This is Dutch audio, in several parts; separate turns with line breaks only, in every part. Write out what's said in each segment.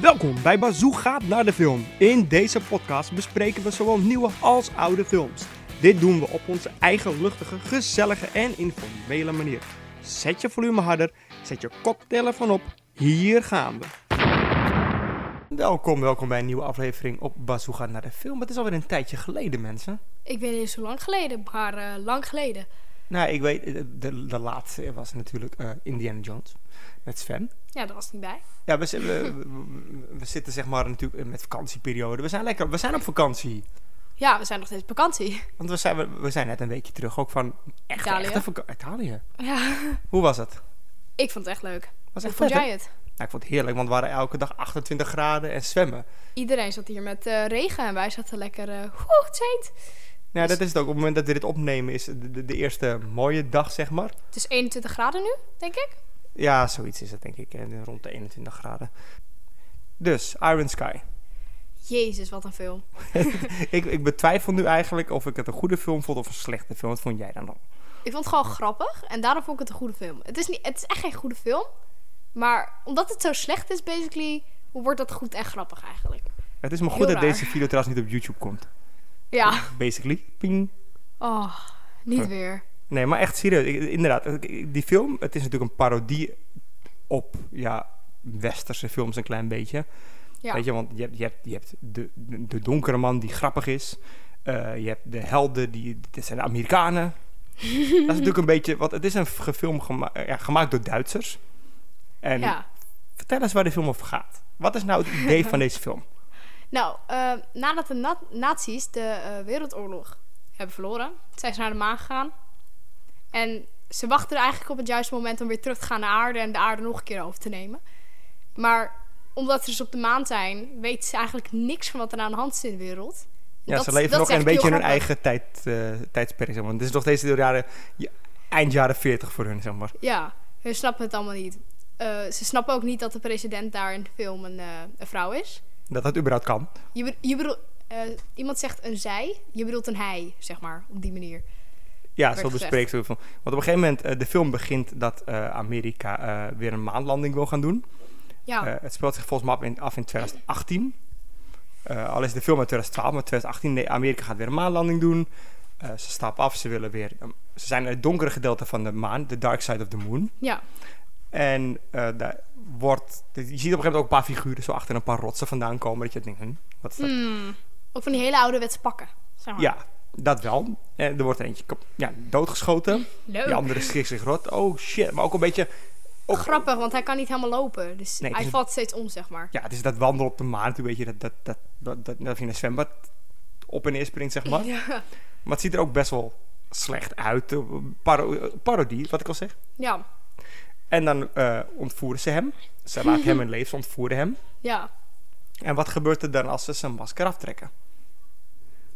Welkom bij Bazoo gaat naar de film. In deze podcast bespreken we zowel nieuwe als oude films. Dit doen we op onze eigen luchtige, gezellige en informele manier. Zet je volume harder, zet je koptelefoon op. Hier gaan we. Welkom, welkom bij een nieuwe aflevering op Bazoo gaat naar de film. Het is alweer een tijdje geleden, mensen.
Ik weet niet eens hoe lang geleden, maar eh, lang geleden.
Nou, ik weet, de, de, de laatste was natuurlijk eh, Indiana Jones met Sven.
Ja, dat was niet bij.
Ja, we, zi- we, we- we zitten zeg maar natuurlijk met vakantieperiode. We zijn lekker, we zijn op vakantie.
Ja, we zijn nog steeds op vakantie.
Want we zijn, we, we zijn net een weekje terug, ook van echt,
Italië.
echte vaka- Italië.
Ja,
Hoe was het?
ik vond het echt leuk.
Was
Hoe
echt
vond
vet, hè?
jij het?
Nou, ik vond het heerlijk, want we waren elke dag 28 graden en zwemmen.
Iedereen zat hier met eh, regen en wij zaten lekker... eh Oeh, het is heet.
Nou,
Dus
dat is het ook. Op het moment dat we dit opnemen is de, de, de eerste mooie dag, zeg maar.
Het is 21 graden nu, denk ik.
Ja, zoiets is het denk ik, eh, rond de 21 graden. Dus, Iron Sky.
Jezus, wat een film.
ik, ik betwijfel nu eigenlijk of ik het een goede film vond of een slechte film. Wat vond jij dan dan?
Ik vond het gewoon grappig en daarom vond ik het een goede film. Het is, niet, het is echt geen goede film, maar omdat het zo slecht is, basically, wordt dat goed en grappig eigenlijk.
Het is maar goed
Heel
dat
raar.
deze video trouwens niet op YouTube komt.
Ja.
Basically. Ping.
Oh, niet weer.
Nee, maar echt serieus. Ik- inderdaad, ik- ik- die film, het is natuurlijk een parodie op ja, westerse films een klein beetje.
Ja.
Weet je, want je hebt, je hebt, je hebt de, de donkere man die grappig is. Eh, je hebt de helden, die, dit zijn de Amerikanen. dat is natuurlijk een beetje, want het is een f- film gema- eh, ja, gemaakt door Duitsers. En
Ja.
vertel eens waar de film over gaat. Wat is nou het idee van deze film?
Nou, eh, nadat de na- nazi's de eh, wereldoorlog hebben verloren, zijn ze naar de maan gegaan. En ze wachten eigenlijk op het juiste moment om weer terug te gaan naar aarde en de aarde nog een keer over te nemen. Maar omdat ze dus op de maan zijn, weten ze eigenlijk niks van wat er aan de hand is in de wereld.
Ja,
Dat-
ze
dat
leven nog een
is eigenlijk
beetje in hun
heel grappig.
eigen tijd, eh, tijdsperk. Zeg maar. Het is nog steeds de jaren, ja, eind jaren 40 voor hun, zeg maar.
Ja, hun snappen het allemaal niet. Eh, ze snappen ook niet dat de president daar in de film een, eh, een vrouw is.
Dat dat überhaupt kan.
Je, be- je bedoelt, eh, iemand zegt een zij, je bedoelt een hij, zeg maar, op die manier.
Ja,
werd
zo
gezegd.
bespreekt ze. van- Want op een gegeven moment, eh, de film begint dat eh, Amerika eh, weer een maanlanding wil gaan doen.
Ja.
Eh, het speelt zich volgens mij af in, af in 2018. Eh, al is de film uit 2012, maar 2018, nee, Amerika gaat weer een maanlanding doen. Eh, ze stappen af, ze willen weer. ehm, ze zijn in het donkere gedeelte van de maan, de dark side of the moon.
ja.
En eh, daar wordt. Je ziet op een gegeven moment ook een paar figuren zo achter een paar rotsen vandaan komen. Dat je denkt, hm, wat is dat?
Mm. Ook van die hele ouderwetse pakken. Zeg maar.
Ja, dat wel. En er wordt er eentje kap- ja, doodgeschoten.
Leuk.
Die andere schrikt zich rot. Oh shit. Maar ook een beetje. ook-
Grappig, want hij kan niet helemaal lopen. Dus
Nee, het
hij
is-
valt steeds om, zeg maar.
Ja, het is dat wandelen op de maan. Een beetje dat, dat, dat, dat, dat, dat je in een zwembad op en neer springt, zeg maar.
Ja.
Maar het ziet er ook best wel slecht uit. eh, paro- eh, parodie, wat ik al zeg.
Ja.
En dan eh, ontvoeren ze hem. Ze laten hem in leven, ze ontvoeren hem.
ja.
En wat gebeurt er dan als ze zijn masker aftrekken?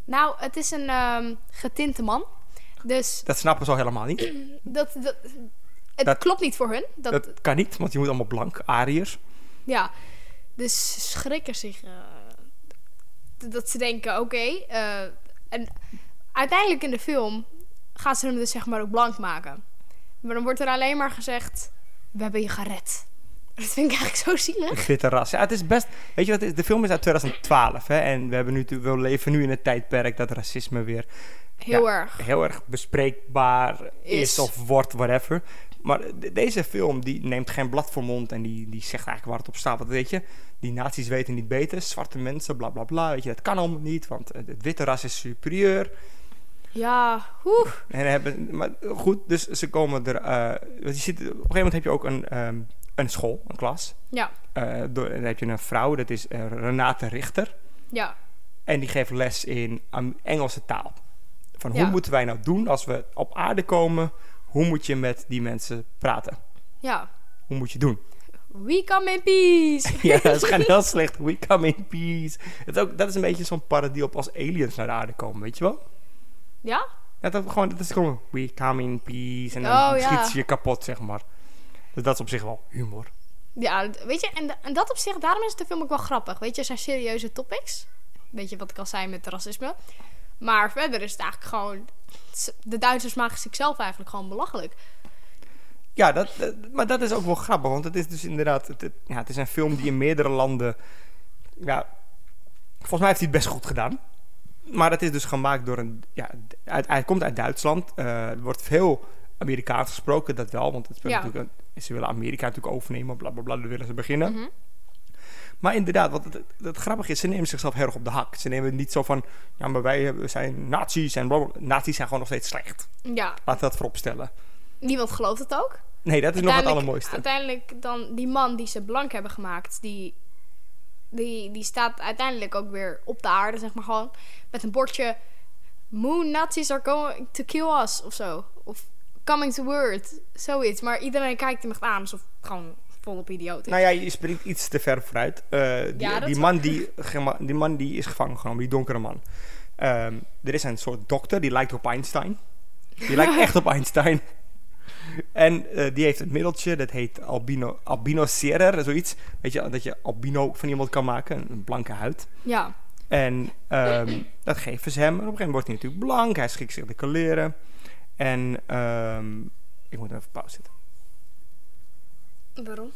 Nou, het is een ehm, getinte man. Dus
Dat snappen ze al helemaal niet.
dat, dat, het
Dat-
klopt niet voor hun. Dat,
Dat kan niet, want je moet allemaal blank, Ariërs.
Ja. Dus ze schrikken zich. eh, d- dat ze denken, oké. eh, en uiteindelijk in de film gaan ze hem dus zeg maar ook blank maken. Maar dan wordt er alleen maar gezegd, we hebben je gered. Dat vind ik eigenlijk zo zielig.
Witte ras. Ja, het is best. Weet je wat? het is? De film is uit 2012. Hè, en we, hebben nu, tu- we leven nu in een tijdperk dat racisme weer
Heel erg.
heel erg bespreekbaar is,
Is.
of wordt, whatever. Maar de- deze film die neemt geen blad voor mond en die, die zegt eigenlijk waar het op staat. Want weet je, die naties weten niet beter, zwarte mensen, bla bla bla. Weet je, dat kan allemaal niet, want het het witte ras is superieur.
Ja, oeh.
En hebben, maar goed, dus ze komen er. eh, want je ziet, op een gegeven moment heb je ook een, ehm, een school, een klas.
Ja,
Eh, door, en dan heb je een vrouw, dat is eh, Renate Richter.
ja,
En die geeft les in Am- Engelse taal. Van
Ja.
hoe moeten wij nou doen als we op aarde komen? Hoe moet je met die mensen praten?
ja.
Hoe moet je doen?
We come in peace.
ja, dat is gewoon heel slecht. We come in peace. Het is ook, dat is een beetje zo'n parodie op als aliens naar de aarde komen, weet je wel?
Ja?
Ja, dat, gewoon, dat is gewoon we come in peace. En dan
Oh,
schiet
ja.
ze je kapot, zeg maar. Dus dat is op zich wel humor.
Ja, d- weet je, en, da- en dat op zich, daarom is de film ook wel grappig. Weet je, er zijn serieuze topics. Weet je wat ik al zei met racisme. Maar verder is het eigenlijk gewoon... De Duitsers maken zichzelf eigenlijk gewoon belachelijk.
Ja, dat, dat- maar dat is ook wel grappig, want het is dus inderdaad... Het, het- ja, het is een film die in meerdere landen... Ja, volgens mij heeft hij het best goed gedaan. Maar het is dus gemaakt door een... Ja, uit, hij komt uit Duitsland. Eh, er wordt veel Amerikaans gesproken, dat wel. Want het speelt
Ja.
natuurlijk een- ze willen Amerika natuurlijk overnemen, bla bla bla. Daar willen ze beginnen.
Mhm.
Maar inderdaad, wat het, het, het grappige is, ze nemen zichzelf heel erg op de hak. Ze nemen niet zo van, ja, maar wij hebben- zijn nazi's en blablabla. Nazi's zijn gewoon nog steeds slecht.
Ja,
Laten we dat vooropstellen.
niemand gelooft het ook.
Nee, dat is nog het
Uiteindelijk-
allermooiste.
Uiteindelijk dan die man die ze blank hebben gemaakt, die, die, die staat uiteindelijk ook weer op de aarde, zeg maar gewoon. Met een bordje, moon Nazis are going to kill us, of zo. Of coming to word, zoiets. Maar iedereen kijkt hem echt aan, alsof het gewoon volop idioot is.
Nou ja, je springt iets te ver vooruit. Eh, die,
Ja, dat
die,
is
man die, gema- die man die is gevangen genomen, die donkere man. Ehm, er is een soort dokter, die lijkt op Einstein. Die lijkt echt op Einstein. En eh, die heeft een middeltje, dat heet albino, albino serer, zoiets. Weet je, dat je albino van iemand kan maken, een- een blanke huid.
Ja,
En ehm, dat geven ze hem. En op een gegeven moment wordt hij natuurlijk blank. Hij schikt zich de kleren. En ehm, ik moet even pauze zetten.
waarom?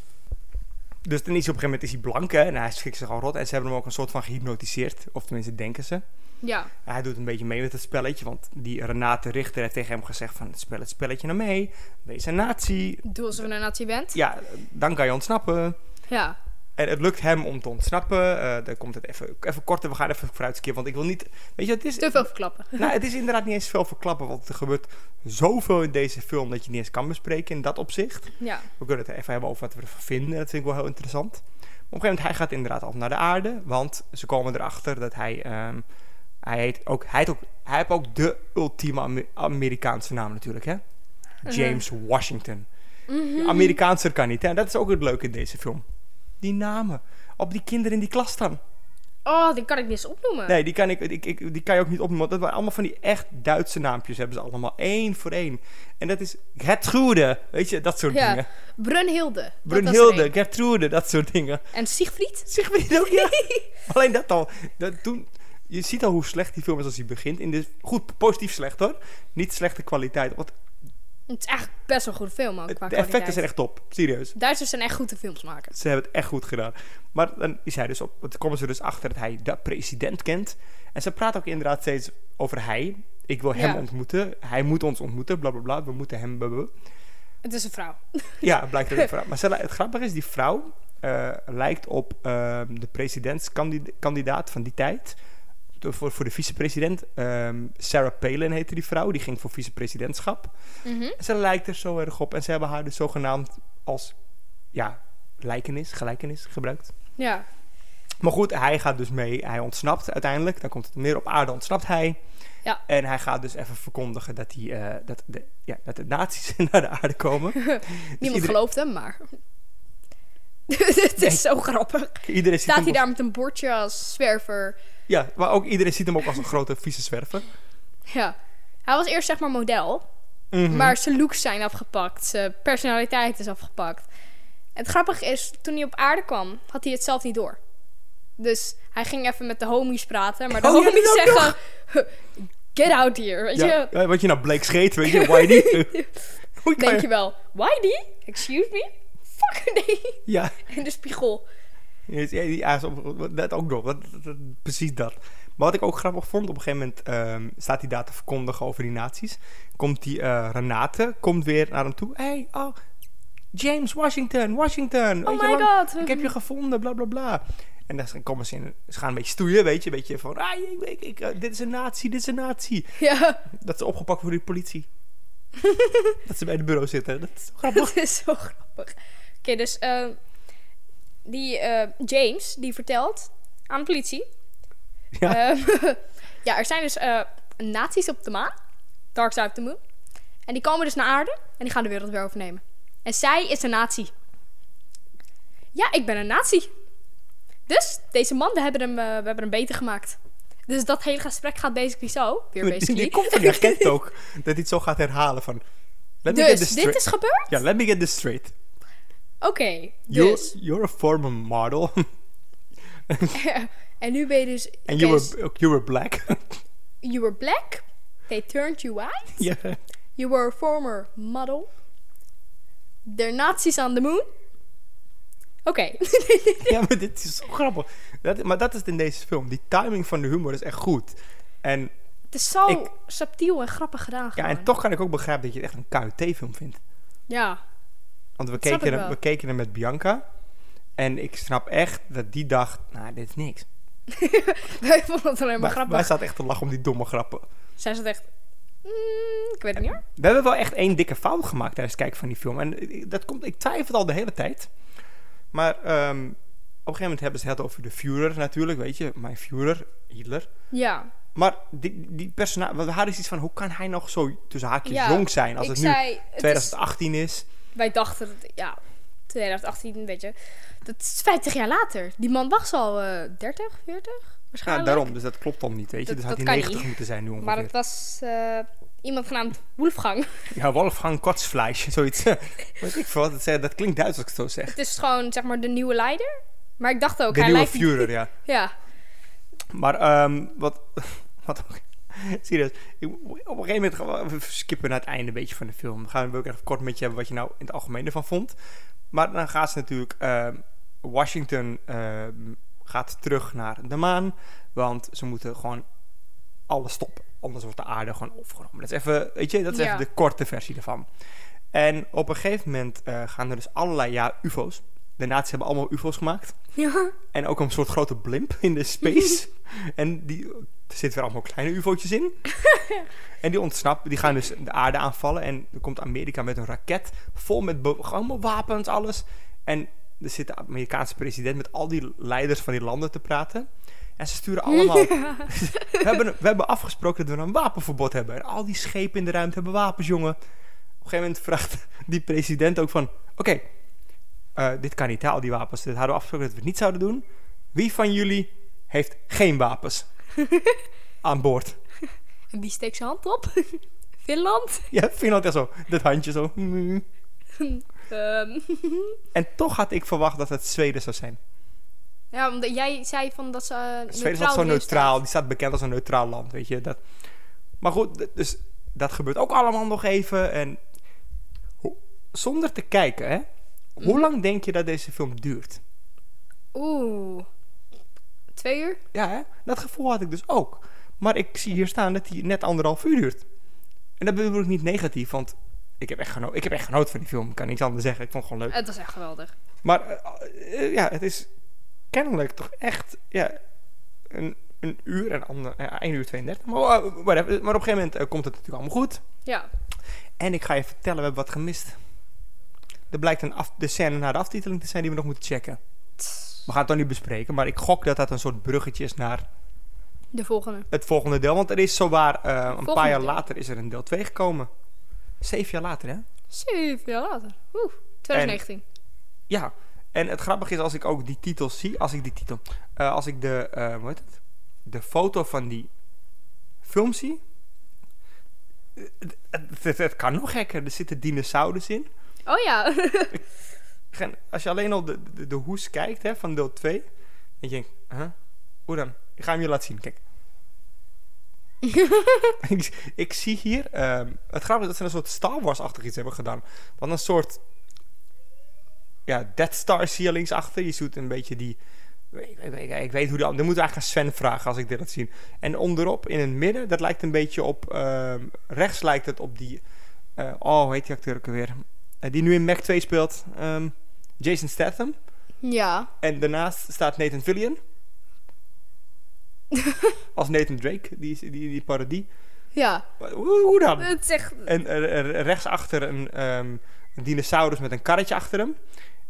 Dus dan is hij op een gegeven moment is hij blank hè, en hij schikt zich al rot. En ze hebben hem ook een soort van gehypnotiseerd. Of tenminste denken ze.
Ja,
Hij doet een beetje mee met het spelletje. Want die Renate Richter heeft tegen hem gezegd van spel het spelletje nou mee. Wees een nazi.
doe alsof je een nazi bent.
Ja, dan kan je ontsnappen.
Ja,
En het lukt hem om te ontsnappen. Eh dan komt het even, even korter. We gaan even vooruitskeren. Want ik wil niet... Weet je, het is,
te veel verklappen.
Nou, het is inderdaad niet eens veel verklappen, want er gebeurt zoveel in deze film dat je niet eens kan bespreken in dat opzicht.
Ja,
We kunnen het even hebben over wat we ervan vinden, dat vind ik wel heel interessant. Maar op een gegeven moment, hij gaat inderdaad af naar de aarde, want ze komen erachter dat hij, ehm, hij heet ook, hij heet ook, hij heeft ook de ultieme Amer- Amerikaanse naam natuurlijk, hè? James Washington. Amerikaanser kan niet, hè? Dat is ook het leuke in deze film. Die namen. Op die kinderen in die klas dan.
oh, die kan ik niet eens opnoemen.
Nee, die kan, ik, ik, ik, die kan je ook niet opnoemen. Want dat waren allemaal van die echt Duitse naampjes. Hebben ze allemaal één voor één. En dat is Gertrude. Weet je, dat soort
Ja,
dingen.
Brunhilde. dat was er
Brunhilde,
een.
Gertrude, dat soort dingen.
En Siegfried?
Siegfried ook, ja. Alleen dat al. Dat, toen, je ziet al hoe slecht die film is als hij begint. In de, goed, positief slecht hoor. Niet slechte kwaliteit. Want
Het is eigenlijk best wel een goede film ook,
het-
qua
de effecten
kwaliteit.
zijn echt top. Serieus.
Duitsers zijn echt goed in films maken.
Ze hebben het echt goed gedaan. Maar dan is hij dus op, dan komen ze dus achter dat hij de president kent. En ze praat ook inderdaad steeds over hij. Ik wil hem
Ja.
ontmoeten. Hij moet ons ontmoeten. Bla bla bla. We moeten hem. bla, bla, bla.
Het is een vrouw.
Ja, blijkt ook een vrouw. Maar ze, li- het grappige is, die vrouw eh, lijkt op ehm, de presidentskandidaat van die tijd. De- voor, voor de vicepresident. ehm, Sarah Palin heette die vrouw. Die ging voor vicepresidentschap. Ze lijkt er zo erg op. En ze hebben haar dus zogenaamd als. Ja, lijkenis, gelijkenis gebruikt.
Ja.
Maar goed, hij gaat dus mee. Hij ontsnapt uiteindelijk. Dan komt het neer op aarde, ontsnapt hij.
Ja.
En hij gaat dus even verkondigen dat, hij, eh, dat, de, ja, dat de nazi's naar de aarde komen. Dus
Niemand
iedereen-
gelooft hem, maar... het is zo grappig.
iedereen ziet
Staat
hem
hij daar met een bordje als zwerver.
Ja, maar ook iedereen ziet hem ook als een grote vieze zwerver.
Ja. Hij was eerst zeg maar model,
Mhm.
maar zijn looks zijn afgepakt. Zijn personaliteit is afgepakt. Het grappige is, toen hij op aarde kwam, had hij het zelf niet door. Dus hij ging even met de homies praten, maar de
Oh, ja,
homies
dat ook
zeggen... Get out here, weet
ja,
je?
ja, Wat je nou bleek scheet, weet je, why niet? Hoe kan
Denk
je-
je wel, why die? Excuse me? Fuck nee.
Ja,
In de spiegel.
Ja, die ja, zo- dat ook nog. Dat, dat- dat- precies dat. Maar wat ik ook grappig vond, op een gegeven moment ehm, staat hij daar te verkondigen over die naties. Komt die eh, Renate, komt weer naar hem toe. hey, oh, James Washington, Washington. weet
Oh
je
my
wel?
god.
Ik heb je gevonden, bla bla bla. En dan komen ze in, ze gaan een beetje stoeien, weet je. Een beetje van, ah, ik, ik, ik, eh, dit is een nazi, dit is een nazi.
Ja,
Dat ze opgepakt worden door de politie. dat ze bij de bureau zitten. Dat is zo grappig.
dat is zo grappig. Oké, dus eh, die eh, James, die vertelt aan de politie.
Ja.
eh, ja, er zijn dus eh nazi's op de maan. Dark Side of the Moon. En die komen dus naar aarde en die gaan de wereld weer overnemen. En zij is een nazi. Ja, ik ben een nazi. Dus deze mannen hebben hem, eh, we hebben hem beter gemaakt. Dus dat hele gesprek gaat basically zo. Weer basically.
Die komt van die herkent ook. Dat hij het zo gaat herhalen van... Let me get
Dus
this
dit
straight.
is gebeurd?
Ja, let me get this straight.
Oké,
You're,
dus.
you're a former model.
en nu ben je dus...
And you
yes,
were, oh, you were black.
you were black, they turned you white,
ja.
you were a former model, De Nazis on the Moon. Oké.
Ja, maar dit is zo grappig. Dat, maar dat is het in deze film. Die timing van de humor is echt goed. En,
het is zo
Ik-
subtiel en grappig gedaan.
ja,
gewoon.
en toch kan ik ook begrijpen dat je het echt een KUT-film vindt.
Ja.
Want we
Dat snap
keken,
ik
er,
wel.
we keken er met Bianca. En ik snap echt dat die dacht, nou, dit is niks.
Wij vonden het alleen maar
Maar
grappig.
wij zaten echt te lachen om die domme grappen.
Zij zat echt... "Mm, ik weet het niet hoor.
We hebben wel echt één dikke fout gemaakt tijdens het kijken van die film. En eh, dat komt, ik twijfel al de hele tijd. Maar ehm, op een gegeven moment hebben ze het over de Führer natuurlijk, weet je. Mijn Führer, Hitler.
Ja.
Maar die, die personage, we hadden zoiets van, hoe kan hij nog zo tussen haakjes
Ja,
jong zijn als
ik
het nu
zei... het is-
2018 is?
wij dachten... Dat, ja, 2018, weet je. Dat is 50 jaar later. Die man was al eh 30, 40
Ja,
waarschijnlijk.
daarom, dus dat klopt dan niet, weet je.
Dat-
dus had hij
dat kan
90
niet.
moeten zijn nu ongeveer.
Maar het was eh, iemand genaamd Wolfgang.
Ja, Wolfgang Kotsfleisch, zoiets. Weet ik veel wat het zei. Dat klinkt Duits als ik het zo zeg.
het is gewoon, zeg maar, de nieuwe leider. Maar ik dacht ook,
de
hij
nieuwe
lijkt...
Führer, ja.
Ja,
Maar ehm, wat... wat ook... Serieus, ik- op een gegeven moment gaan we even skippen naar het einde een beetje van de film. Dan gaan we ook even kort met je hebben wat je nou in het algemeen ervan vond. Maar dan gaat ze natuurlijk... ehm, Washington ehm, gaat terug naar de maan. Want ze moeten gewoon alles stoppen. Anders wordt de aarde gewoon opgenomen. Dat is even, weet je, dat is
Ja.
even de korte versie ervan. En op een gegeven moment eh, gaan er dus allerlei ja, ufo's. De nazi's hebben allemaal ufo's gemaakt.
Ja.
En ook een soort grote blimp in de space. en die, er zitten weer allemaal kleine ufo'tjes in. en die ontsnappen, die gaan dus de aarde aanvallen. En dan komt Amerika met een raket vol met be- allemaal wapens, alles. En er zit de Amerikaanse president met al die leiders van die landen te praten. En ze sturen allemaal... we, hebben, we hebben afgesproken dat we een wapenverbod hebben. En al die schepen in de ruimte hebben wapens, jongen. Op een gegeven moment vraagt die president ook van... Oké, eh, dit kan niet, hè, al die wapens. Dit hadden we afgesproken dat we het niet zouden doen. Wie van jullie heeft geen wapens aan boord?
En wie steekt zijn hand op? Finland?
Ja, Finland echt zo. Dat handje zo.
Ehm,
En toch had ik verwacht dat het Zweden zou zijn.
ja, omdat jij zei van dat ze eh,
Zweden
neutraal
staat zo
erin
neutraal.
staat.
Die staat bekend als een neutraal land, weet je. Dat. Maar goed, d- dus dat gebeurt ook allemaal nog even. En ho- zonder te kijken, hè. Hoe lang denk je dat deze film duurt?
Oeh. Twee uur?
Ja, hè? dat gevoel had ik dus ook. Maar ik zie hier staan dat hij net anderhalf uur duurt. En dat bedoel ik niet negatief, want ik heb echt, geno ik heb echt genoten van die film. Ik kan niks anders zeggen. Ik vond het gewoon leuk.
Het was echt geweldig.
Maar eh, eh, ja, het is kennelijk toch echt ja, een, een uur en ander, eh, 1 uur 32. Maar, eh, whatever. maar op een gegeven moment eh, komt het natuurlijk allemaal goed.
Ja.
En ik ga je vertellen, we hebben wat gemist. Er blijkt een af, de scène na de aftiteling te zijn die we nog moeten checken. We gaan het dan niet bespreken, maar ik gok dat dat een soort bruggetje is naar
De volgende.
het volgende deel. Want er is zowaar eh, een
Volgende
paar jaar
deel.
later is er een deel 2 gekomen. Zeven jaar later, hè?
Zeven jaar later. Oeh. 2019.
Ja. En het grappige is als ik ook die titel zie, als ik die titel, eh, als ik de, eh, hoe heet het? De foto van die film zie. eh, Het, het- het- het kan nog gekker. Er zitten dinosaurus in.
Oh ja.
Gen- Als je alleen al de, de, de hoes kijkt hè, van deel 2. Dan denk je, huh? hoe dan? Ik ga hem je laten zien, kijk. ik, ik zie hier, ehm, het grappige is dat ze een soort Star Wars-achtig iets hebben gedaan. Want een soort, ja, Death Star zie je linksachter. Je ziet een beetje die, ik, ik- ik- ik weet hoe die, dan moet ik eigenlijk aan Sven vragen als ik dit laat zien. En onderop, in het midden, dat lijkt een beetje op, ehm, rechts lijkt het op die, eh, oh, hoe heet die acteur ook alweer? Eh, die nu in Mac 2 speelt, ehm, Jason Statham.
ja.
En daarnaast staat Nathan Fillion. Als Nathan Drake, die, die, die parodie.
Ja.
Wat- Hoe, hoe dan?
Het is echt...
En eh, eh, rechtsachter een, ehm, een dinosaurus met een karretje achter hem.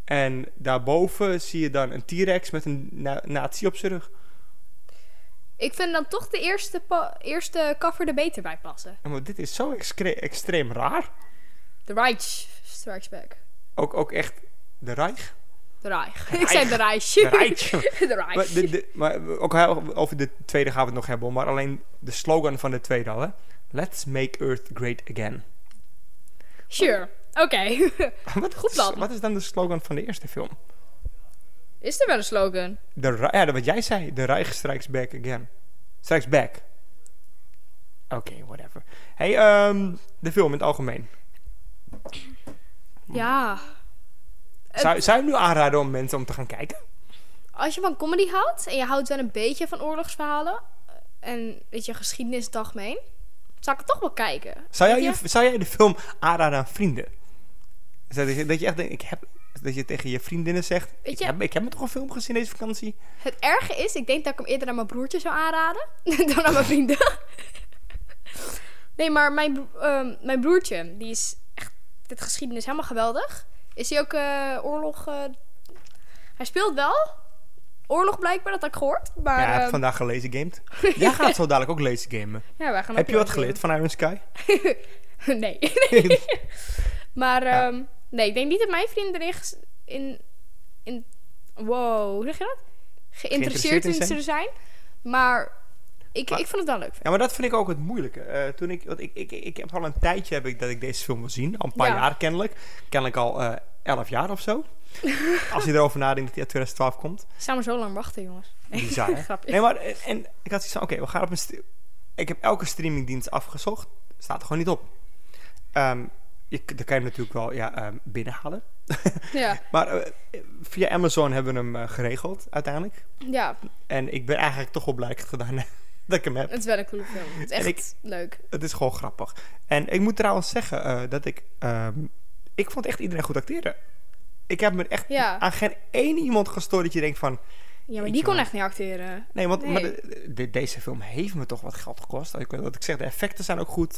En daarboven zie je dan een T-Rex met een na nazi op zijn rug.
Ik vind dan toch de eerste, pa- eerste cover er beter bij passen.
En wat- dit is zo excre- extreem raar.
The Reich Strikes Back.
Ook, ook echt de Reich.
De Reich. Ik zei de Reich.
De Reich.
De Reich.
maar, de, de- maar ook heel- over de tweede gaan we het nog hebben. Maar alleen de slogan van de tweede al. Hè? Let's make Earth great again.
Sure. Oké.
Wat,
Goed
is,
plan.
wat is dan de slogan van de eerste film?
is er wel een slogan?
De, Ri- ja, wat jij zei. De Reich strikes back again. Strikes back. Oké, whatever. Hey, ehm, de film in het algemeen.
Ja.
Zou, zou je hem nu aanraden om mensen om te gaan kijken?
Als je van comedy houdt en je houdt wel een beetje van oorlogsverhalen eh, en weet je, geschiedenisdag mee, zou ik het toch wel kijken.
Zou jij,
Weet
je- zou jij de film aanraden aan vrienden? Dus Dat je, dat je echt denkt, ik heb... Dat je tegen je vriendinnen zegt,
Weet
ik
je-
heb, ik heb toch een film gezien deze vakantie?
Het erge is, ik denk dat ik hem eerder aan mijn broertje zou aanraden dan aan mijn vrienden. nee, maar mijn, bro- ehm, mijn broertje, die is echt dit geschiedenis helemaal geweldig. Is hij ook eh, oorlog? eh, hij speelt wel oorlog blijkbaar, dat had ik gehoord. Maar
ja, ik heb
ehm,
vandaag gelezen gamed. Jij gaat zo dadelijk ook lezen gamen.
ja, wij gaan
Heb je
ook
wat
weer-
geleerd van Iron Sky?
nee. maar
Ja.
ehm, nee, ik denk niet dat mijn vrienden erin... ges- In, in, wow, hoe zeg je dat? Geïnteresseerd
Geïnteresseerd in
in
zijn?
zullen zijn. Maar ik,
Maar-
ik vond het wel leuk.
Ja, maar dat vind ik ook het moeilijke. Eh, toen ik, want ik, ik, ik heb al een tijdje heb ik dat ik deze film wil zien. Al een paar
Ja.
jaar kennelijk. Kennelijk al eh 11 jaar of zo. Als je erover nadenkt dat die uit 2012 komt.
Ik zou maar zo lang wachten, jongens.
Bizar, hè?
Grapje.
Nee, maar eh, en, en ik had zoiets van, oké, we gaan op een... st- Ik heb elke streamingdienst afgezocht. Staat er gewoon niet op. Ehm je, k- dan kan je hem natuurlijk wel ja, ehm, binnenhalen.
Ja,
Maar eh, via Amazon hebben we hem eh, geregeld uiteindelijk.
ja,
En ik ben eigenlijk toch wel blij dat ik het gedaan heb, dat ik hem heb.
het is wel een coole film. Het is echt
En ik-
leuk.
Het is gewoon grappig. En ik moet trouwens zeggen eh, dat ik... ehm, ik vond echt iedereen goed acteren. Ik heb me echt
Ja.
aan geen één iemand gestoord dat je denkt van...
Ja, maar
Ik
die kon
wel.
echt niet acteren.
Nee, want maar
Nee.
de- de- deze film heeft me toch wat geld gekost. Ik, wat ik zeg, de effecten zijn ook goed.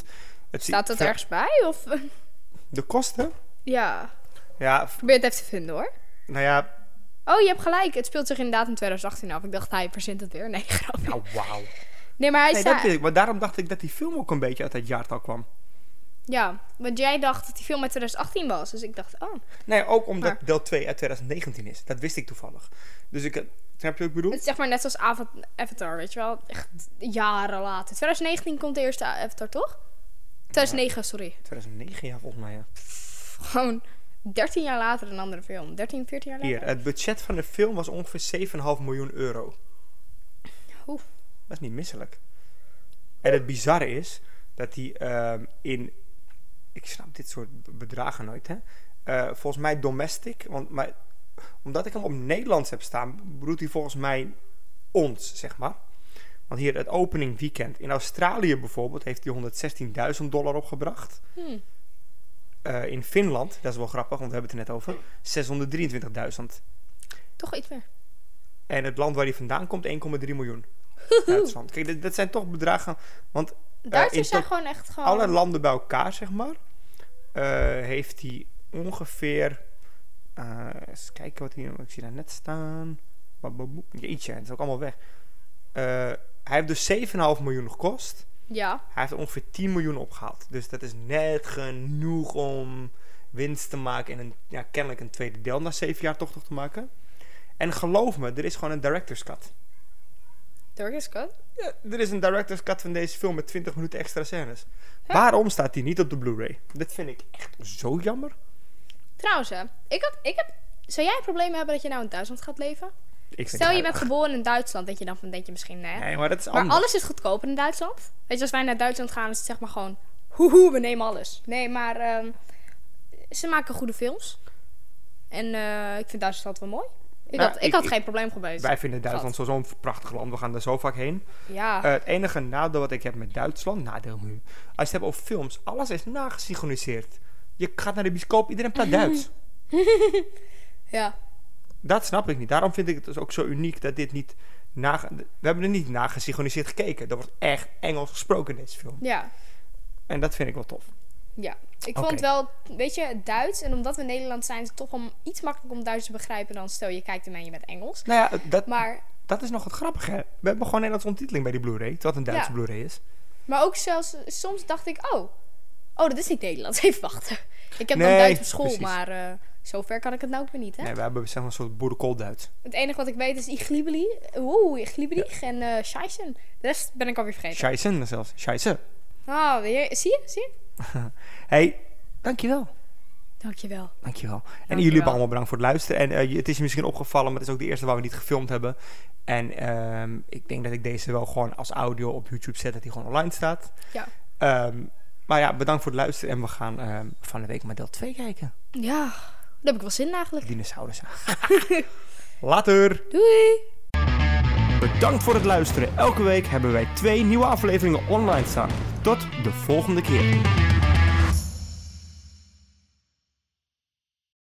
Het ziet-
Staat dat
ver-
ergens bij? Of,
De kosten?
ja,
Ja, f-
probeer het even te vinden hoor.
nou ja,
Oh, je hebt gelijk. Het speelt zich inderdaad in 2018 af. Ik dacht, hij verzint het weer. Nee, grapje.
nou wauw.
Nee, maar hij
Nee, dat
staat...
weet ik. Maar daarom dacht ik dat die film ook een beetje uit dat jaartal kwam.
Ja, want jij dacht dat die film uit 2018 was. Dus ik dacht, oh.
Nee, ook omdat
Maar-
deel 2 uit 2019 is. Dat wist ik toevallig. Dus ik... Snap je wat ik bedoel?
Het is zeg maar net zoals Ava- Avatar, weet je wel. Echt jaren later. 2019 komt de eerste Avatar, toch? 2009, sorry.
2009, ja, volgens mij, ja.
Gewoon 13 jaar later een andere film. 13, 14 jaar later.
Hier, het budget van de film was ongeveer 7,5 miljoen euro.
Oeh.
Dat is niet misselijk. En het bizarre is dat die ehm, in... Ik snap dit soort b- bedragen nooit, hè. Eh, volgens mij domestic, want maar, omdat ik hem op Nederlands heb staan, bedoelt hij volgens mij ons, zeg maar. Want hier, het opening weekend. In Australië bijvoorbeeld heeft hij 116.000 dollar opgebracht.
Hmm.
Eh, in Finland, dat is wel grappig, want we hebben het er net over, 623.000.
Toch iets meer.
En het land waar hij vandaan komt, 1,3 miljoen. Duitsland. Kijk, dat, dat zijn toch bedragen. Want
Duitsers
in
zijn
tot-
gewoon echt gewoon...
Eh, alle landen bij elkaar, zeg maar, eh, heeft hij ongeveer. eh, eens kijken wat hier. Ik zie daar net staan. Bababoe. Jeetje, het is ook allemaal weg. Eh, hij heeft dus 7,5 miljoen gekost.
Ja,
Hij heeft ongeveer 10 miljoen opgehaald. Dus dat is net genoeg om winst te maken en een, ja, kennelijk een tweede deel na 7 jaar toch nog te maken. En geloof me, er is gewoon een director's cut.
Turkish Cut.
Ja, er is een director's cut van deze film met 20 minuten extra scènes. Waarom staat die niet op de Blu-ray? Dat vind ik echt zo jammer.
Trouwens, hè, ik, had, ik heb... Zou jij problemen hebben dat je nou in Duitsland gaat leven?
Ik
Stel, je bent geboren in Duitsland, dat je dan van denk je misschien, nee.
Nee, maar dat is
Maar
anders.
alles is goedkoper in Duitsland. Weet je, als wij naar Duitsland gaan, is het zeg maar gewoon... Hoehoe, we nemen alles. Nee, maar ehm, ze maken goede films. En eh, ik vind Duitsland wel mooi. Ik
Nou,
had, ik,
ik-
had
ik-
geen probleem geweest.
Wij vinden Duitsland zo- zo'n prachtig land. We gaan daar zo vaak heen.
Ja,
Eh, het enige nadeel wat ik heb met Duitsland, nadeel nu, als je het hebt over films, alles is nagesynchroniseerd. Je gaat naar de bioscoop, iedereen
Mhm.
praat Duits.
ja.
Dat snap ik niet. Daarom vind ik het dus ook zo uniek dat dit niet... Nage... We hebben er niet nagesynchroniseerd gekeken. Er wordt echt Engels gesproken in deze film.
Ja,
En dat vind ik wel tof.
ja. Ik
Oké.
vond wel, weet je, Duits. En omdat we in Nederland zijn, is het toch wel iets makkelijker om Duits te begrijpen dan stel je kijkt ernaar en je bent Engels.
Nou ja, dat,
Maar,
dat is nog het grappige. hè. We hebben gewoon Nederlandse ondertiteling bij die Blu-ray. Wat een Duitse
Ja.
Blu-ray is.
maar ook zelfs, soms dacht ik, oh, oh, dat is niet Nederlands. Even wachten. Ik heb
Nee,
dan Duits op school,
precies.
maar eh zover kan ik het nou ook weer niet, hè?
Nee, we hebben zeg maar, een soort boerenkool-Duits.
Het enige wat ik weet is Iglibeli. Oeh, Iglibelig en eh Scheisen. De rest ben ik alweer vergeten.
Scheisse zelfs. Scheisse.
Ah, weer. Zie je? Zie je?
hey, dankjewel.
Dankjewel.
Dankjewel. En jullie
Dankjewel.
hebben allemaal bedankt voor het luisteren. En eh, je- het is je misschien opgevallen, maar het is ook de eerste waar we niet gefilmd hebben. En ehm, ik denk dat ik deze wel gewoon als audio op YouTube zet, dat die gewoon online staat.
Ja.
Ehm, Maar ja, bedankt voor het luisteren. En we gaan eh, van de week maar deel 2 kijken.
Ja, daar heb ik wel zin in eigenlijk.
Dinosaurussen. Later!
Doei!
Bedankt voor het luisteren. Elke week hebben wij twee nieuwe afleveringen online staan. Tot de volgende keer.